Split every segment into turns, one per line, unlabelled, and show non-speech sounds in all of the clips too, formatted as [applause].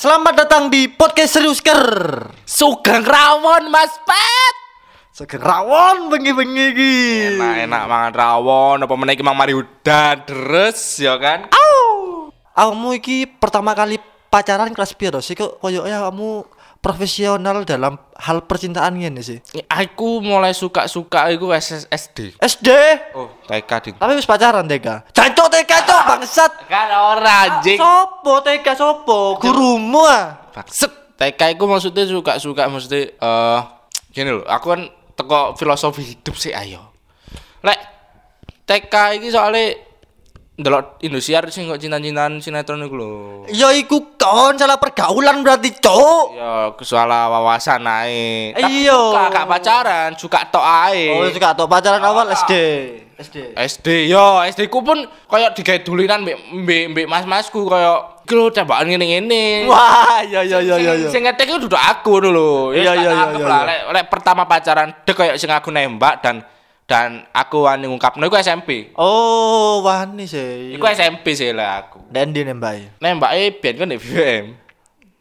Selamat datang di podcast Seriusker.
Sugeng rawon Mas Pet.
Sugeng rawon bengi-bengi iki.
Enak enak mangan rawon apa meneh iki mang mari udan deres ya kan.
Kamu iki pertama kali pacaran kelas piro sih kok koyoknya kamu profesional dalam hal percintaan ngene sih?
Aku mulai suka-suka iku SSD.
SD.
Oh, TK ding.
Tapi wis pacaran TK. Jancuk TK cok bangsat.
Kan ora anjing.
Ah, Sopo TK sopo? Gurumu ah.
Set. TK iku maksudnya suka-suka maksudnya eh gini loh, aku kan teko filosofi hidup sih ayo. Lek TK iki soalnya ndelok Indosiar sing kok cinta-cintaan sinetron iku lho.
Ya iku kon salah pergaulan berarti cok.
Ya, soal wawasan ae. Kak-
Iya.
Kak, kak pacaran, juga tok ae.
Oh, itu gak tau pacaran awal
Ah.
SD. SD.
SD yo, SD ku pun koyo digawe dulinan mbek mbek mbek mas-masku koyo iki lho tembakan ngene-ngene.
Wah, ya ya ya ya. ya.
Sing ngetek itu duduk aku dulu.
Iya, iya, iya, iya, iya.
Lek, lek pertama pacaran dek koyo sing aku nembak dan dan aku wani ngungkapno iku SMP.
Oh, wani sih.
Iku SMP sih lah aku.
Dan di nembak.
Nembake biyen kan di BBM.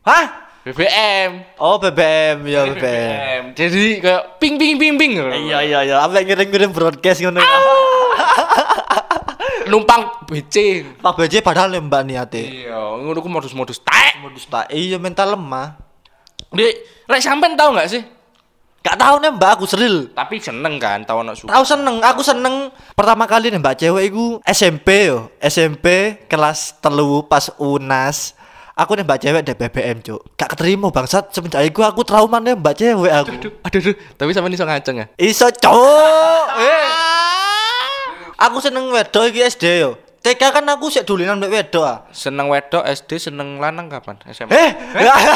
Hah?
BBM.
Oh, BBM ya BBM.
Jadi kayak ping ping ping ping.
Iya iya iya, apa ngirim-ngirim broadcast ngono. ya.
Numpang BC.
Pak BJ padahal nembak niate.
Iya, ngono ku modus-modus tek.
Modus tak iya mental lemah.
Dek, lek sampean tau gak sih?
Gak tahu nembak aku seril.
Tapi seneng kan tau anak suka.
Tahu seneng, aku seneng pertama kali nembak cewek iku SMP yo. SMP kelas telu pas UNAS. Aku nembak cewek di BBM, Cuk. Gak keterima bangsat semenjak iku aku trauma nembak cewek aku.
Aduh, aduh, aduh. Tapi sampean iso ngaceng ya?
Iso cok. Eh. Aku seneng wedok iki SD yo. TK kan aku sik dolenan mek wedok ah.
Seneng wedok SD, seneng lanang kapan? SMA.
Eh. [laughs]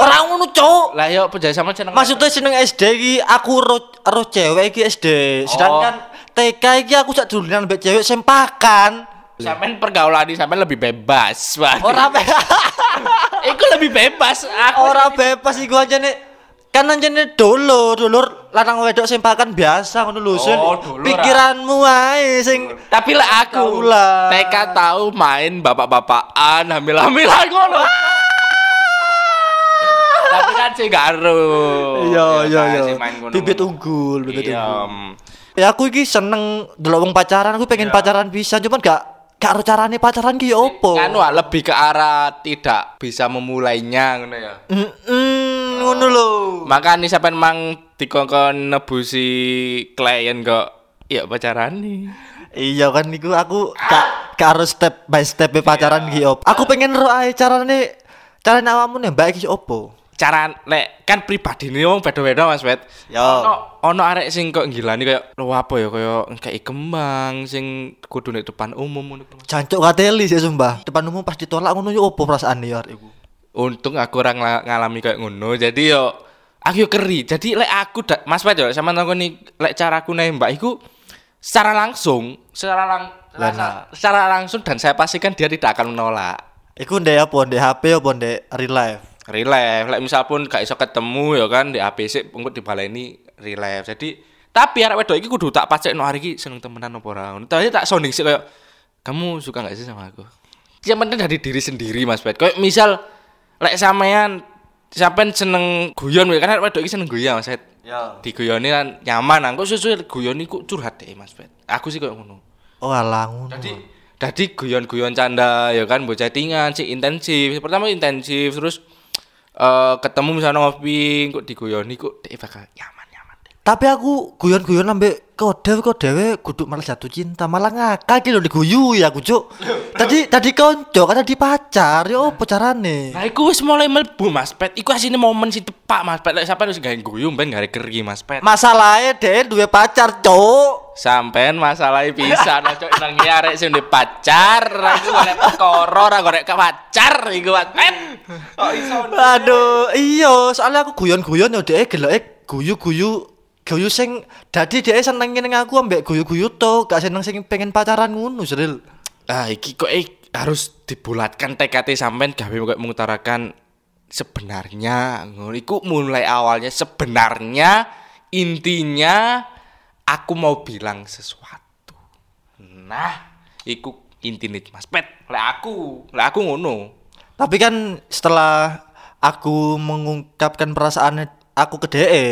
Ora ngono cok.
Lah yo penjajah sama seneng.
Maksudnya seneng SD iki aku ro, ro cewek iki SD. Sedangkan TK iki aku sik dolenan mek cewek sempakan.
sampean pergaulan sampean lebih bebas, Pak.
Ora be [laughs]
Iku lebih bebas. Aku
ora bebas iku aja nek kan anjene dulur, dulur lanang wedok sempakan biasa ngono lho. Sen.
Oh, dulur, ah.
Pikiranmu ae sing
tapi lah aku
Taulah.
TK tahu main bapak-bapakan hamil-hamilan
Ah!
ngono. Tapi kan sih garu.
Iya iya
kan
iya. Bibit
Bibit
unggul, bibit
Iya.
unggul. Ya aku iki seneng delok wong pacaran, aku pengen pacaran bisa, cuman gak gak ro carane pacaran ki ya opo.
Kan wah lebih ke arah tidak bisa memulainya ngono ya. Oh.
Heeh, ngono lho.
Makanya sampean mang dikongkon nebusi klien kok ya pacaran nih.
Iya kan iku aku gak gak harus step by step pacaran ki opo. Aku pengen ro ae carane carane awakmu nembak iki opo.
Cara lek kan pribadi nih wong beda-beda Mas Wet.
Yo.
Ono ono arek sing kok gilani kayak lo apa ya kayak kayak kembang sing kudu nek depan umum ngono.
Jancuk kateli sih sumpah. Depan umum pas ditolak ngono yo opo perasaan yo arek iku.
Untung aku orang ngalami kayak ngono. Jadi yo aku yo keri. Jadi lek aku da- Mas Wet yo sama nang nih lek caraku nembak iku secara langsung, secara lang
Lah,
secara langsung dan saya pastikan dia tidak akan menolak.
Iku ndek apa ndek HP apa ndek real life.
relief lek misal pun gak iso ketemu ya kan di ABC engko dibaleni relief jadi tapi arek wedok iki kudu tak pacekno hari iki seneng temenan apa ora ngono Tapi tak sounding sih kayak kamu suka gak sih sama aku yang penting dari diri sendiri Mas Bet kayak misal lek sampean sampean seneng guyon ya kan arek wedok iki seneng guyon Mas Bet
Ya.
diguyoni kan nyaman aku susu guyon iku curhat deh Mas Bet aku sih kayak ngono
Oh alah ngono.
jadi jadi guyon-guyon canda ya kan bocah tingan sih intensif. Pertama intensif terus eh ketemu misalnya ngopi kok diguyoni kok dek bakal nyaman-nyaman. deh.
Tapi aku guyon-guyon ambek kode kok dhewe kudu malah jatuh cinta, malah ngakak iki lho diguyu ya aku
[laughs]
cuk. Tadi tadi konco kan tadi pacar yo apa carane?
Nah, iku wis mulai mlebu Mas Pet. Iku asine momen sing tepak Mas Pet. Lek sampean wis gawe guyu ben gak keri Mas Pet.
Masalahnya dhewe duwe pacar cuk.
Sampean masalahnya pisan nah, cok nang iki arek sing duwe pacar, aku golek perkara ora golek ke pacar iku Mas Pet. Kok iso
Aduh, iya, soalnya aku guyon-guyon yo dhewe geleke guyu-guyu guyu sing dadi dhewe seneng ning aku ambek guyu-guyu to, gak seneng sing pengen pacaran ngono, Sril.
Ah, iki kok ik- harus dibulatkan TKT sampean gawe kok mengutarakan sebenarnya ngono iku mulai awalnya sebenarnya intinya aku mau bilang sesuatu. Nah, iku intine Mas Pet. Lek aku, lek aku ngono.
Tapi kan setelah aku mengungkapkan perasaan aku ke DE,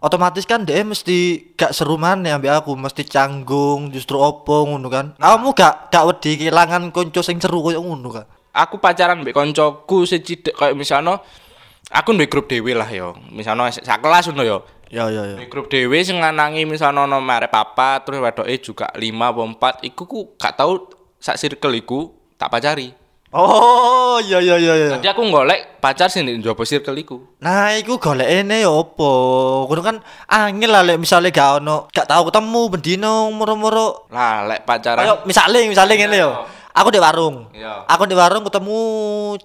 otomatis kan DE mesti gak seru maneh ambek aku, mesti canggung, justru opo ngono kan. Kamu gak gak wedi kehilangan konco sing seru koyo ngono kan.
aku pacaran mbek koncoku secidik kayak misalnya aku duwe grup dhewe lah yo. Misalnya sa- sakelas ngono yo.
Ya ya ya.
Di grup dhewe sing lanangi misalnya ono merek papat terus wedoke juga 5 apa 4 iku ku gak tau sak circle iku tak pacari.
Oh, ya ya ya ya.
Jadi aku golek pacar sing ndek njaba circle iku.
Nah, iku golekene ya opo? Kudu kan angel lah lek misale gak ono, gak tau ketemu bendino moro-moro.
Lah
Ayo
lek pacaran
misale misale ngene yo. Aku di warung.
Iya.
Aku di warung ketemu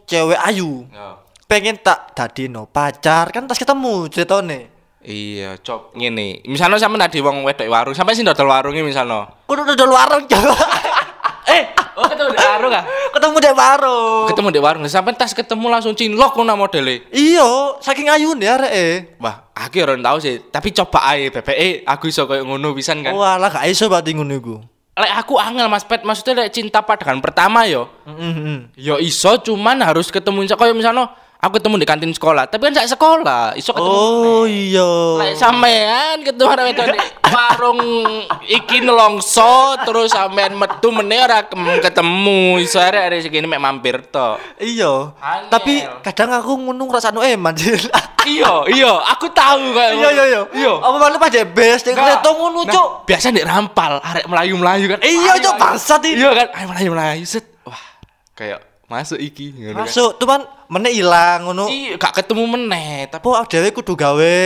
cewek ayu.
Yo.
Pengen tak dadino pacar kan tas ketemu ceritane.
Iya, cok ngene. Misalnya sampe nadi wong wedok warung, sampe sing dodol warunge misalnya.
Kudu dodol warung Cok. [laughs] eh,
Oh, ketemu di warung ah.
ketemu di warung.
Oh. Ketemu di warung, sampe tas ketemu langsung cinlok ngono modele.
Iyo, saking ayune eh. areke.
Wah, aku ya orang tahu sih, tapi coba aja BPE aku iso koyo ngono pisan kan.
Walah gak iso berarti ngono iku.
Lek aku angel Mas Pet, maksudnya lek cinta pandangan pertama yo.
Heeh. heeh.
Yo Ya iso cuman harus ketemu iso koyo misalnya aku ketemu di kantin sekolah, tapi kan sak sekolah, iso ketemu.
Oh, iya.
Lek sampean ketemu arek wedok di warung iki nelongso terus sampean metu meneh ora kem- ketemu, iso arek-arek segini mek mampir to.
Iya.
Angel.
Tapi kadang aku ngono ngrasakno eman. Cil.
[laughs] Iya, iya, aku tahu
eh,
kayak
Iya iya iya.
Iya.
Apa malah pas di best ning kereta ngono,
Nah,
Cuk.
biasa nek rampal, arek melayu-melayu kan.
Iya,
Ayo,
Cuk,
ayo.
bangsat ini.
Iya kan, ayo melayu-melayu set. Wah, kayak masuk iki ngono kan.
Masuk, cuman meneh ilang ngono.
Iya, gak ketemu meneh, tapi
Apa dhewe kudu gawe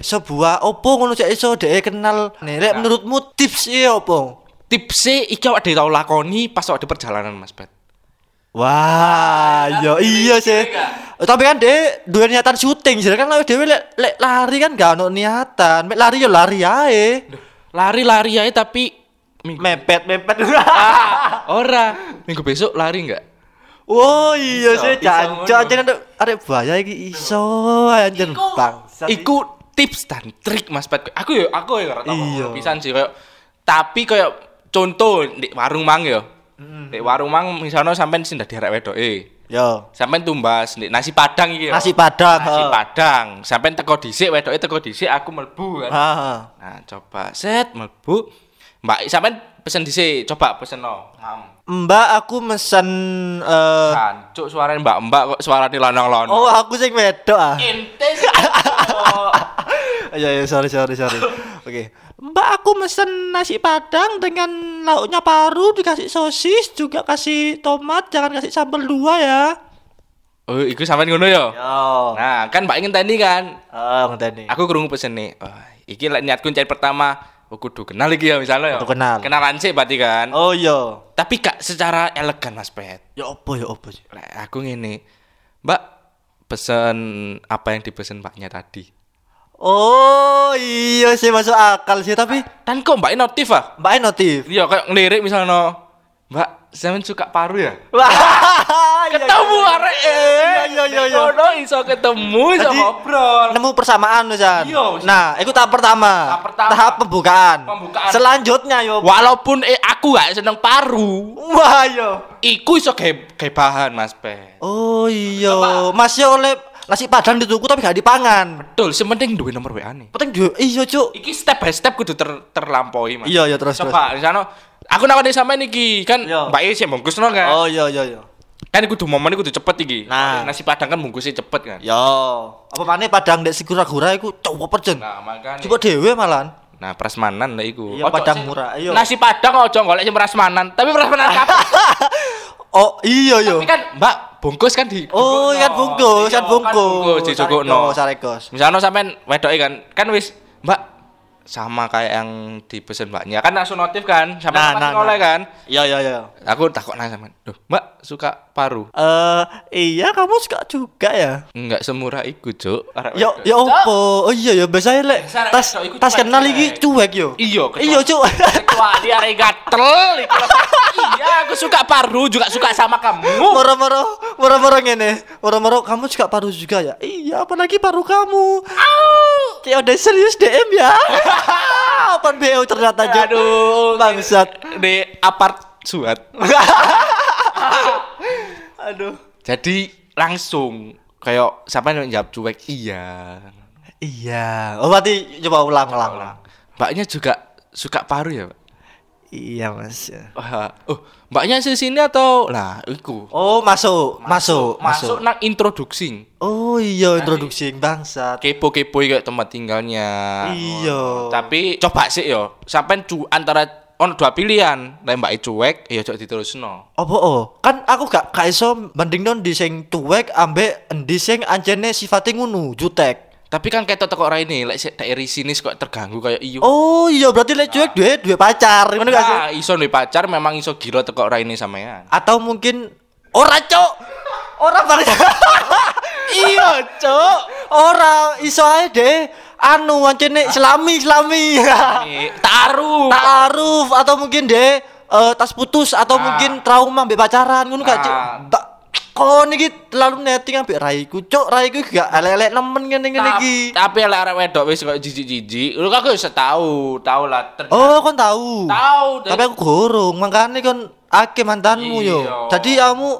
sebuah opo ngono cek iso dhewe kenal. Nih, lek menurutmu tips e opo?
tipsnya iki awak dhewe tau lakoni pas awak di perjalanan Mas Bet.
Wah, iya iya sih. Tapi kan dhewe duwe niatan syuting, jadi kan lek dhewe lek lek lari kan gak ono niatan. Mek lari yo lari ae.
Lari-lari aja tapi minggu
Mepet-mepet.
ora minggu besok lari enggak?
[laughs] Oh iya
Iso,
sih
iso
jancok
ngono.
anjir arek arek bahaya iki iso anjir bangsat.
Iku tips dan trik Mas Pat. Aku ya aku ya ora tau
Iya.
ngomong pisan sih kayak tapi kayak contoh di warung mang ya.
Hmm.
Di warung mang misalnya sampean sing dadi arek wedoke.
Yo.
Sampean tumbas di nasi padang iki ya.
Nasi padang.
Nasi
heeh.
padang. Sampean teko dhisik wedoke teko dhisik aku mlebu kan.
Ha, ha.
Nah, coba set mlebu. Mbak sampean pesen dhisik, coba peseno. Mam.
Mbak aku mesen eh
Cancuk suarane mbak-mbak kok suarane lanang-lanang.
Oh aku sing wedok ah.
Ente sih. Oh.
[laughs] Ya ya sorry sorry sorry. Oke. Mbak aku mesen nasi padang dengan lauknya paru dikasih sosis juga kasih tomat jangan kasih sambal dua ya.
Oh, iku sampean ngono ya.
Yo.
Nah, kan Mbak ingin tadi kan.
Oh ngenteni.
Aku kerungu pesen nih. Oh, iki lah niatku cari pertama. Oh, kudu kenal iki ya misalnya ya.
Kudu kenal.
Kenalan sih berarti kan.
Oh iya.
Tapi gak secara elegan Mas Pet.
Ya opo ya opo. sih.
Lah, aku ngene. Mbak pesen apa yang dipesen Mbaknya tadi?
Oh iya sih masuk akal sih tapi
Kan kok Mbak notif ah?
Mbak E
[laughs]
notif.
Iya, kayak ngelirik misalnya. Mbak, sampean suka paru ya?
Wah,
Ketemu arek e.
Iya, iya, iya.
Ngono iso ketemu, iso
Jadi,
ngobrol.
Nemu persamaan Mas Jan.
Iya, Mas.
Nah, itu tahap pertama.
Tahap pertama.
Tahap pembukaan.
Pembukaan.
Selanjutnya yo.
Walaupun eh aku gak seneng paru,
Wah, iya. yo.
iku iso ge ge bahan Mas Pet.
Oh iya, Mas yo oleh nasi padang dituku tapi gak dipangan.
Betul, sementing duwe nomor WA nih.
Penting duwe iya, Cuk.
Iki step by step kudu ter terlampaui, Mas.
Iya, iya, terus,
Coba misalnya aku nawani sampean iki kan
Iya.
Mbak Is yang bungkus no, kan.
Oh iya iya iya.
Kan kudu momen kudu cepet iki.
Nah. Iya.
Nasi padang kan bungkusnya cepet kan.
Yo, Ya. apa maneh padang dek sigura-gura iku cowo perjen.
Nah, makanya.
Coba dhewe malan.
Nah, prasmanan lah iku.
Iya,
Ojo
padang
sih-
murah, iya.
Nasi padang ojo golek sing prasmanan, tapi
[laughs]
prasmanan kabeh.
[laughs] Oh iya yo.
tapi kan Mbak bungkus kan di
Oh,
dicukupno.
ikan bungkus,
Iya,
ikan bungkus.
dicukupno.
Sarekos.
Misalnya sampean wedoke kan, kan wis Mbak sama kayak yang dipesen Mbaknya. Kan langsung notif kan,
Nah,
sampean nah,
nah, nah.
oleh kan.
Iya iya iya.
Aku takut nang sampean. Duh, Mbak suka paru?
Eh, iya kamu suka juga ya.
Enggak semurah iku, Cuk. Arek
Yo,
wedok.
yo opo? Oh iya ya biasanya lek
Biasa,
tas
wedok iku
tas
cuek,
kenal
cuek.
iki cuek yo.
Iya, kecuali-
Iya cuk.
[laughs] Kecuali arek e gatel iku lah. Iya, aku suka paru juga suka sama
Oh.
kamu.
Moro-moro, moro-moro ngene. Moro-moro kamu suka paru juga ya? Iya, apalagi paru kamu. Kayak udah serius DM ya. [laughs] Open BO ternyata Cuk.
Aduh,
bangsat.
di apart suat.
Aduh.
Jadi langsung kayak siapa yang jawab cuek iya
Iya. Oh berarti coba ulang ulang. ulang.
mbaknya juga suka paru ya Pak?
Iya mas.
Wah, oh mbaknya di sini atau lah iku
Oh masuk masuk
masuk, nang introduksi
Oh iya introduksi bangsat.
kepo-kepo kayak tempat tinggalnya
Iya.
tapi coba sih yo sampai cu antara on dua pilihan lah mbak cuek ya coba diterusno
Apa oh? Kan aku gak gak iso bandingno di sing tuwek ambek endi sing anjene sifate ngono, jutek.
tapi kan kayak toko orang ini lek like, daerah sini kok terganggu kayak iyo
Oh iya berarti lek cuek duwe duwe pacar. Ngono gak sih?
Ah, iso duwe pacar memang iso gila teko ora ini sampean.
Atau mungkin ora cok. Ora bangsa.
[laughs] Iya, Cuk.
ora iso ae deh. Anu anjene selami selami.
Taruh.
Ta'aruf atau mungkin deh eh, tas putus atau mungkin trauma mbek pacaran ngono gak Cuk?
Ah.
Ba- Kon iki terlalu netting ambek raiku, cok raiku gak elek-elek nemen ngene-ngene
Ta-
iki.
Tapi lek arek wedok wis kok jijik-jijik, lu kan aku wis tahu, tahu lah. Ter-
Oh, kon tahu.
Tahu, dan-
Tapi aku gorong, makanya kon ake mantanmu yo.
Iya.
Jadi kamu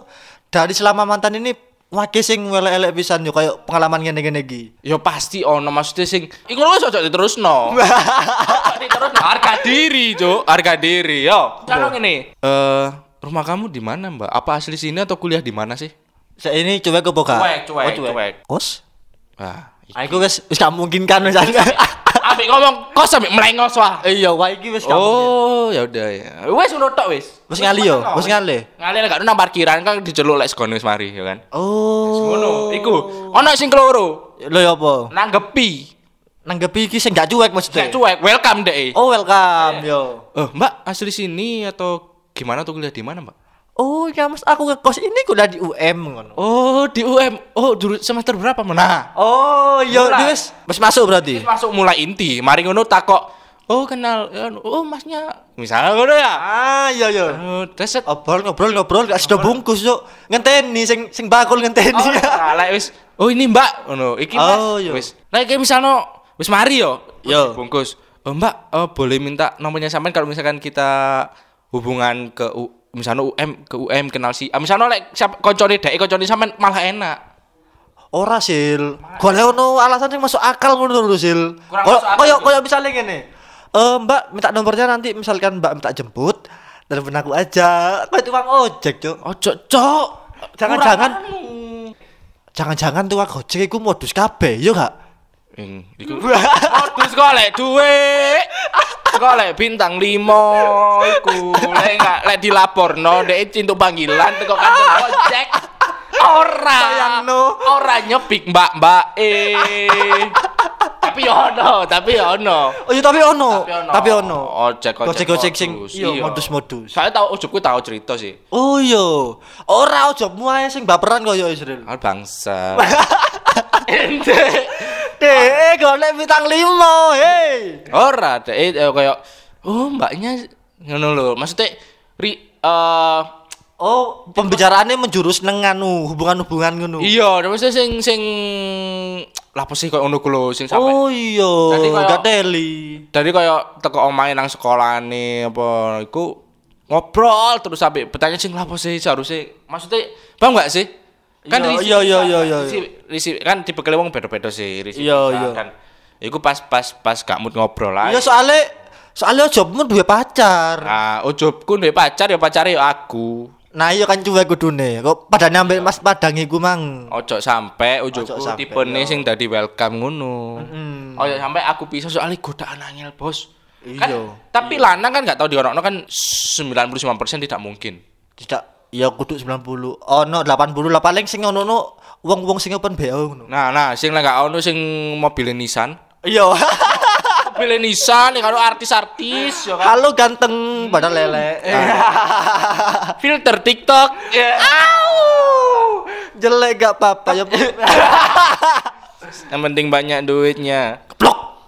dari selama mantan ini wake sing elek-elek pisan yo kayak pengalaman ngene-ngene
[laughs]
iki.
Ya pasti ono maksudnya sing iku lho cocok diterusno. [laughs] Cocok diterusno harga diri, Cuk. Harga diri, yo. Kalau ngene. Eh, rumah kamu di mana, Mbak? Apa asli sini atau kuliah di mana sih?
Saya ini coba ke boga.
Cuek, cuek,
Oh,
cuek.
Kos?
Ah. i-
Aku guys, wis gak mungkin kan wis.
[laughs] Ambek ngomong kok sampe melengos wah.
[laughs] Iya, wah iki wis gak mungkin.
Oh, ya udah ya. Wes ngono tok wis.
Wis ngali yo, wis ngali.
Ngali gak nang parkiran kan diceluk lek sekono wis mari ya kan.
Oh.
Ngono, iku. Ono sing keloro,
Lho ya apa?
nanggepi.
Nanggepi iki sing gak cuek maksudnya.
Gak cuek, welcome deh.
Oh, welcome yo.
Oh, Mbak asli sini atau gimana tuh kuliah di mana, Mbak?
Oh, ya Mas, aku ke kos ini kuliah di UM ngono.
Oh, di UM. Oh, dulu semester berapa, Mena?
Oh, yo
Murah.
wis wis masuk berarti.
Masuk mulai inti. Mari ngono takok. Oh, kenal. eh, Oh, Masnya. Misalnya ngono ya.
Ah, iya iya.
Oh, Teset.
Obrol ngobrol ngobrol gak sudah bungkus yuk. Ngenteni sing sing bakul [laughs] ngenteni.
Oh, nah, lek wis. Oh, ini Mbak. Ngono. Iki Mas.
Oh, iya.
Wis. Lek kayak misalnya wis mari yo.
Yo.
Bungkus. Oh, Mbak, eh, boleh minta nomornya sampean kalau misalkan kita hubungan ke U misalnya UM ke UM kenal si ah, misalnya lek siapa koncone dek koncone sampean malah enak
Ora sil. Golek ono alasan sing masuk akal ngono lho sil.
Kurang
Koyo
masuk akal,
koyo
Sil.
koyo misale ngene. Eh, Mbak minta nomornya nanti misalkan Mbak minta jemput telepon aku aja. Kau tukang ojek, Cuk.
ojo cok
Jangan-jangan jangan-jangan tukang ojek iku modus kabeh, yo
[laughs]
gak?
Ing, iku. Modus kok lek duwe. Kok lek bintang 5 iku. Lek enggak lek dilaporno ndek cintu panggilan teko kantor ojek. Ora.
Sayangno.
Ora nyepik mbak-mbak eh. Tapi ya ono, tapi ya ono.
Oh iya tapi ono. Tapi ono.
Ojek ojek.
Ojek-ojek sing
modus.
iya
Iya.
modus-modus.
Saya tahu ojekku tahu cerita sih.
Oh iya. Ora ojokmu ae sing baperan koyo Israel.
Al bangsa.
Dek, Eh, golek bintang lima, eh. hei.
Ora, dek eh, kayak oh mbaknya ngono lho. Maksudnya ri eh,
Oh, pembicaraannya menjurus neng anu hubungan-hubungan ngono.
Iya, terus sing sing lapo sih koyo ngono ku lho sing sampe.
Oh iya,
Jadi kayak-
gak teli.
Dari koyo teko omahe nang sekolahane apa iku ngobrol terus sampe bertanya sing lapo sih seharusnya maksudnya paham gak sih?
Iya,
risi-
iya, iya, iya, iya.
risi- risi- kan dibekeli wong beda-beda sih risi.
Iya,
kita,
iya.
Kan iku pas pas pas gak mood ngobrol lah.
Iya soalnya soalnya jobmu duwe pacar.
Nah, Ah, ujubku duwe pacar ya pacare ya aku.
Nah, iya kan cuek kudune. Kok pada nyampe Mas Padang iku mang.
Ojo sampe ujungku
sampe,
tipe nih sing dadi welcome ngono. Ojo sampe aku pisah soalnya godaan angel, Bos. Kan,
Iya.
tapi lanang kan gak tau diorokno kan 99% tidak mungkin.
Tidak, ya kudu 90. Ono 80 lah paling sing ono no wong-wong sing open BO ngono.
Nah, nah sing lek gak ono sing mobil Nissan. [laughs]
Iya.
Mobil Nissan kalau artis-artis ya kan.
Halo ganteng pada lele.
Filter TikTok.
Iya. Au! Jelek gak apa-apa ya.
[laughs] Yang penting banyak duitnya.
Blok.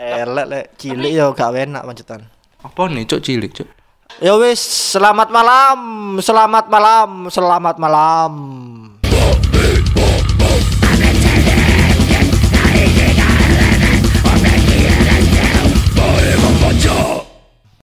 Elek lek cilik yo gak enak pancetan.
Apa nih, Cuk cilik, Cuk?
Ya wis, selamat malam, selamat malam, selamat malam.